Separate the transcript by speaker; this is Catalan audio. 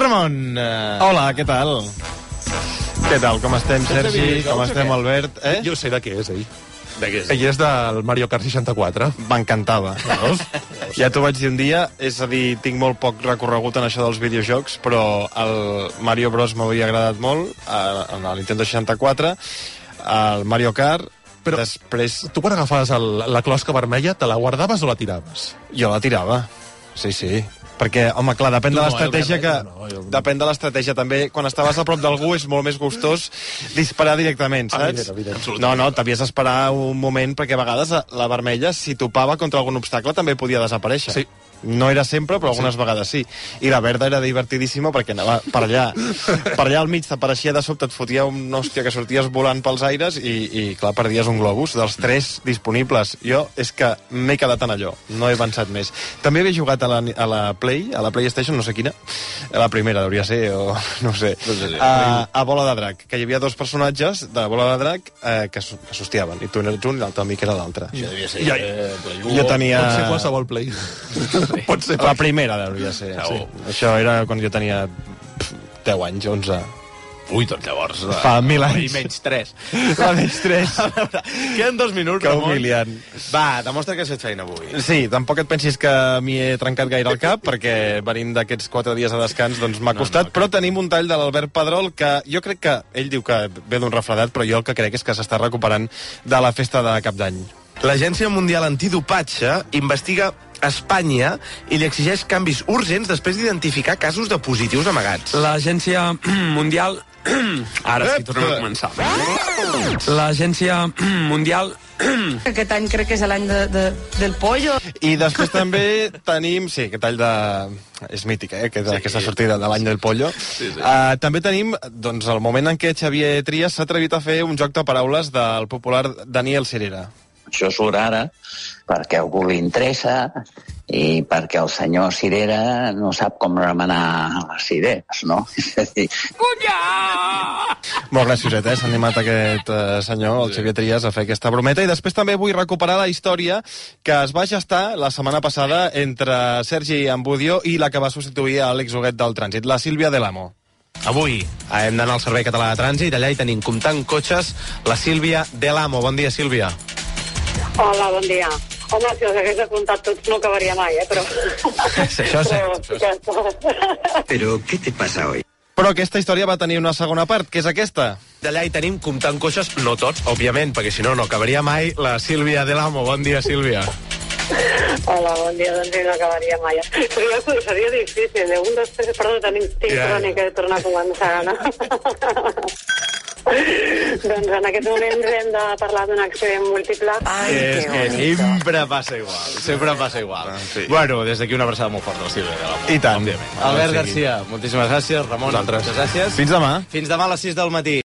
Speaker 1: Carmon! Hola, què tal? Què tal? Com estem, Sergi? Com estem, Albert? Eh?
Speaker 2: Jo sé de què és, ell.
Speaker 3: De què és?
Speaker 2: Ell és del Mario Kart 64.
Speaker 1: M'encantava.
Speaker 2: Veus?
Speaker 1: Ja t'ho vaig dir un dia, és a dir, tinc molt poc recorregut en això dels videojocs, però el Mario Bros m'havia agradat molt, eh, en el Nintendo 64, el Mario Kart,
Speaker 2: Però-
Speaker 1: però... després
Speaker 2: Tu quan agafaves el, la closca vermella, te la guardaves o la tiraves?
Speaker 1: jo la tirava. Sí, sí. Perquè, home, clar, depèn
Speaker 2: Tu
Speaker 1: de
Speaker 2: no,
Speaker 1: l'estratègia
Speaker 2: Albert,
Speaker 1: que...
Speaker 2: no, no, jo no.
Speaker 1: Depèn de l'estratègia, també. Quan estaves a prop d'algú és molt més gustós disparar directament,
Speaker 2: Ah,
Speaker 1: saps?
Speaker 2: Evident, evident.
Speaker 1: No, no, t'havies d'esperar un moment, perquè a vegades la vermella, si topava contra algun obstacle, també podia desaparèixer.
Speaker 2: Sí.
Speaker 1: No era sempre, però algunes sí. vegades sí. I la verda era divertidíssima perquè anava per allà. per allà al mig t'apareixia de sobte, et fotia un hòstia que sorties volant pels aires i, i clar, perdies un globus dels tres disponibles. Jo és que m'he quedat en allò, no he avançat més. També havia jugat a la, a la Play, a la PlayStation, no sé quina, a la primera hauria ser, o no ho sé, Ah,
Speaker 3: sé, sí.
Speaker 1: a, a Bola de Drac, que hi havia dos personatges de Bola de Drac eh, que, s- que s'hostiaven, i tu eres un i l'altre amic era l'altre.
Speaker 3: Això devia ser...
Speaker 2: Ja-
Speaker 3: eh, Play
Speaker 1: Jo
Speaker 3: Uo.
Speaker 1: tenia...
Speaker 2: Pot ser qualsevol play. Pot ser
Speaker 1: La primera devia ser,
Speaker 3: Segur.
Speaker 1: sí. Això era quan jo tenia pff, 10 anys, 11.
Speaker 3: Ui, doncs llavors... eh,
Speaker 1: Fa mil anys.
Speaker 3: I menys 3.
Speaker 1: La més 3.
Speaker 3: Queden dos minuts,
Speaker 1: Que
Speaker 3: Ramon.
Speaker 1: humiliant.
Speaker 3: Va, demostra que has fet feina avui.
Speaker 1: Sí, tampoc et pensis que m'hi he trencat gaire el cap, perquè venim d'aquests quatre dies de descans, doncs m'ha costat, però tenim un tall de l'Albert Pedrol, que jo crec que, ell diu que ve d'un refredat, però jo el que crec és que s'està recuperant de la festa de cap d'any.
Speaker 4: L'Agència Mundial Antidopatge investiga Espanya i li exigeix canvis urgents després d'identificar casos de positius amagats.
Speaker 5: L'Agència Mundial... Ara sí, tornem a començar. L'Agència Mundial...
Speaker 6: Aquest any crec que és l'any de, de, del pollo.
Speaker 1: I després també tenim... Sí, aquest tall de... És mítica, eh? Aquesta, sí, aquesta sortida de l'any del pollo. Sí, sí. Uh, també tenim doncs, el moment en què Xavier Trias s'ha atrevit a fer un joc de paraules del popular Daniel Cirera.
Speaker 7: Això surt ara perquè a algú li interessa i perquè el senyor Cirera no sap com remenar les cireres, no? És a dir,
Speaker 1: Molt gracioset, eh? S'ha animat aquest eh, senyor, el Xavier Trias, a fer aquesta brometa. I després també vull recuperar la història que es va gestar la setmana passada entre Sergi Ambudio i la que va substituir a Àlex Huguet del Trànsit, la Sílvia de l'Amo.
Speaker 4: Avui eh, hem d'anar al Servei Català de Trànsit, allà hi tenim comptant cotxes la Sílvia Delamo. Bon dia, Sílvia.
Speaker 8: Hola, bon dia. Home, si els hagués de comptar tots no acabaria mai, eh, però...
Speaker 4: Sí, això és cert, això és
Speaker 7: Però què te passa avui?
Speaker 1: Però aquesta història va tenir una segona part, que és aquesta.
Speaker 4: D'allà hi tenim comptant cotxes, no tots, òbviament, perquè si no, no acabaria mai la Sílvia Delamo. Bon dia, Sílvia.
Speaker 8: Hola, bon dia, doncs sí, no acabaria mai. eh. Però ja ho seria difícil, eh? Un, dos, tres, perdó, tenim
Speaker 4: Ja,
Speaker 8: tinc
Speaker 4: ja.
Speaker 8: yeah. crònica de tornar a començar, no? doncs en aquest moment hem de parlar d'un accident múltiple.
Speaker 6: Ai,
Speaker 3: És
Speaker 6: que
Speaker 3: que
Speaker 6: bonic.
Speaker 3: sempre passa igual, sempre passa igual. Sí. Bueno, des d'aquí una abraçada molt forta al Silvia de l'Amor.
Speaker 1: I tant.
Speaker 3: Òbviament. Albert Garcia, moltíssimes gràcies. Ramon, moltes gràcies.
Speaker 1: Fins demà.
Speaker 3: Fins demà a les 6 del matí.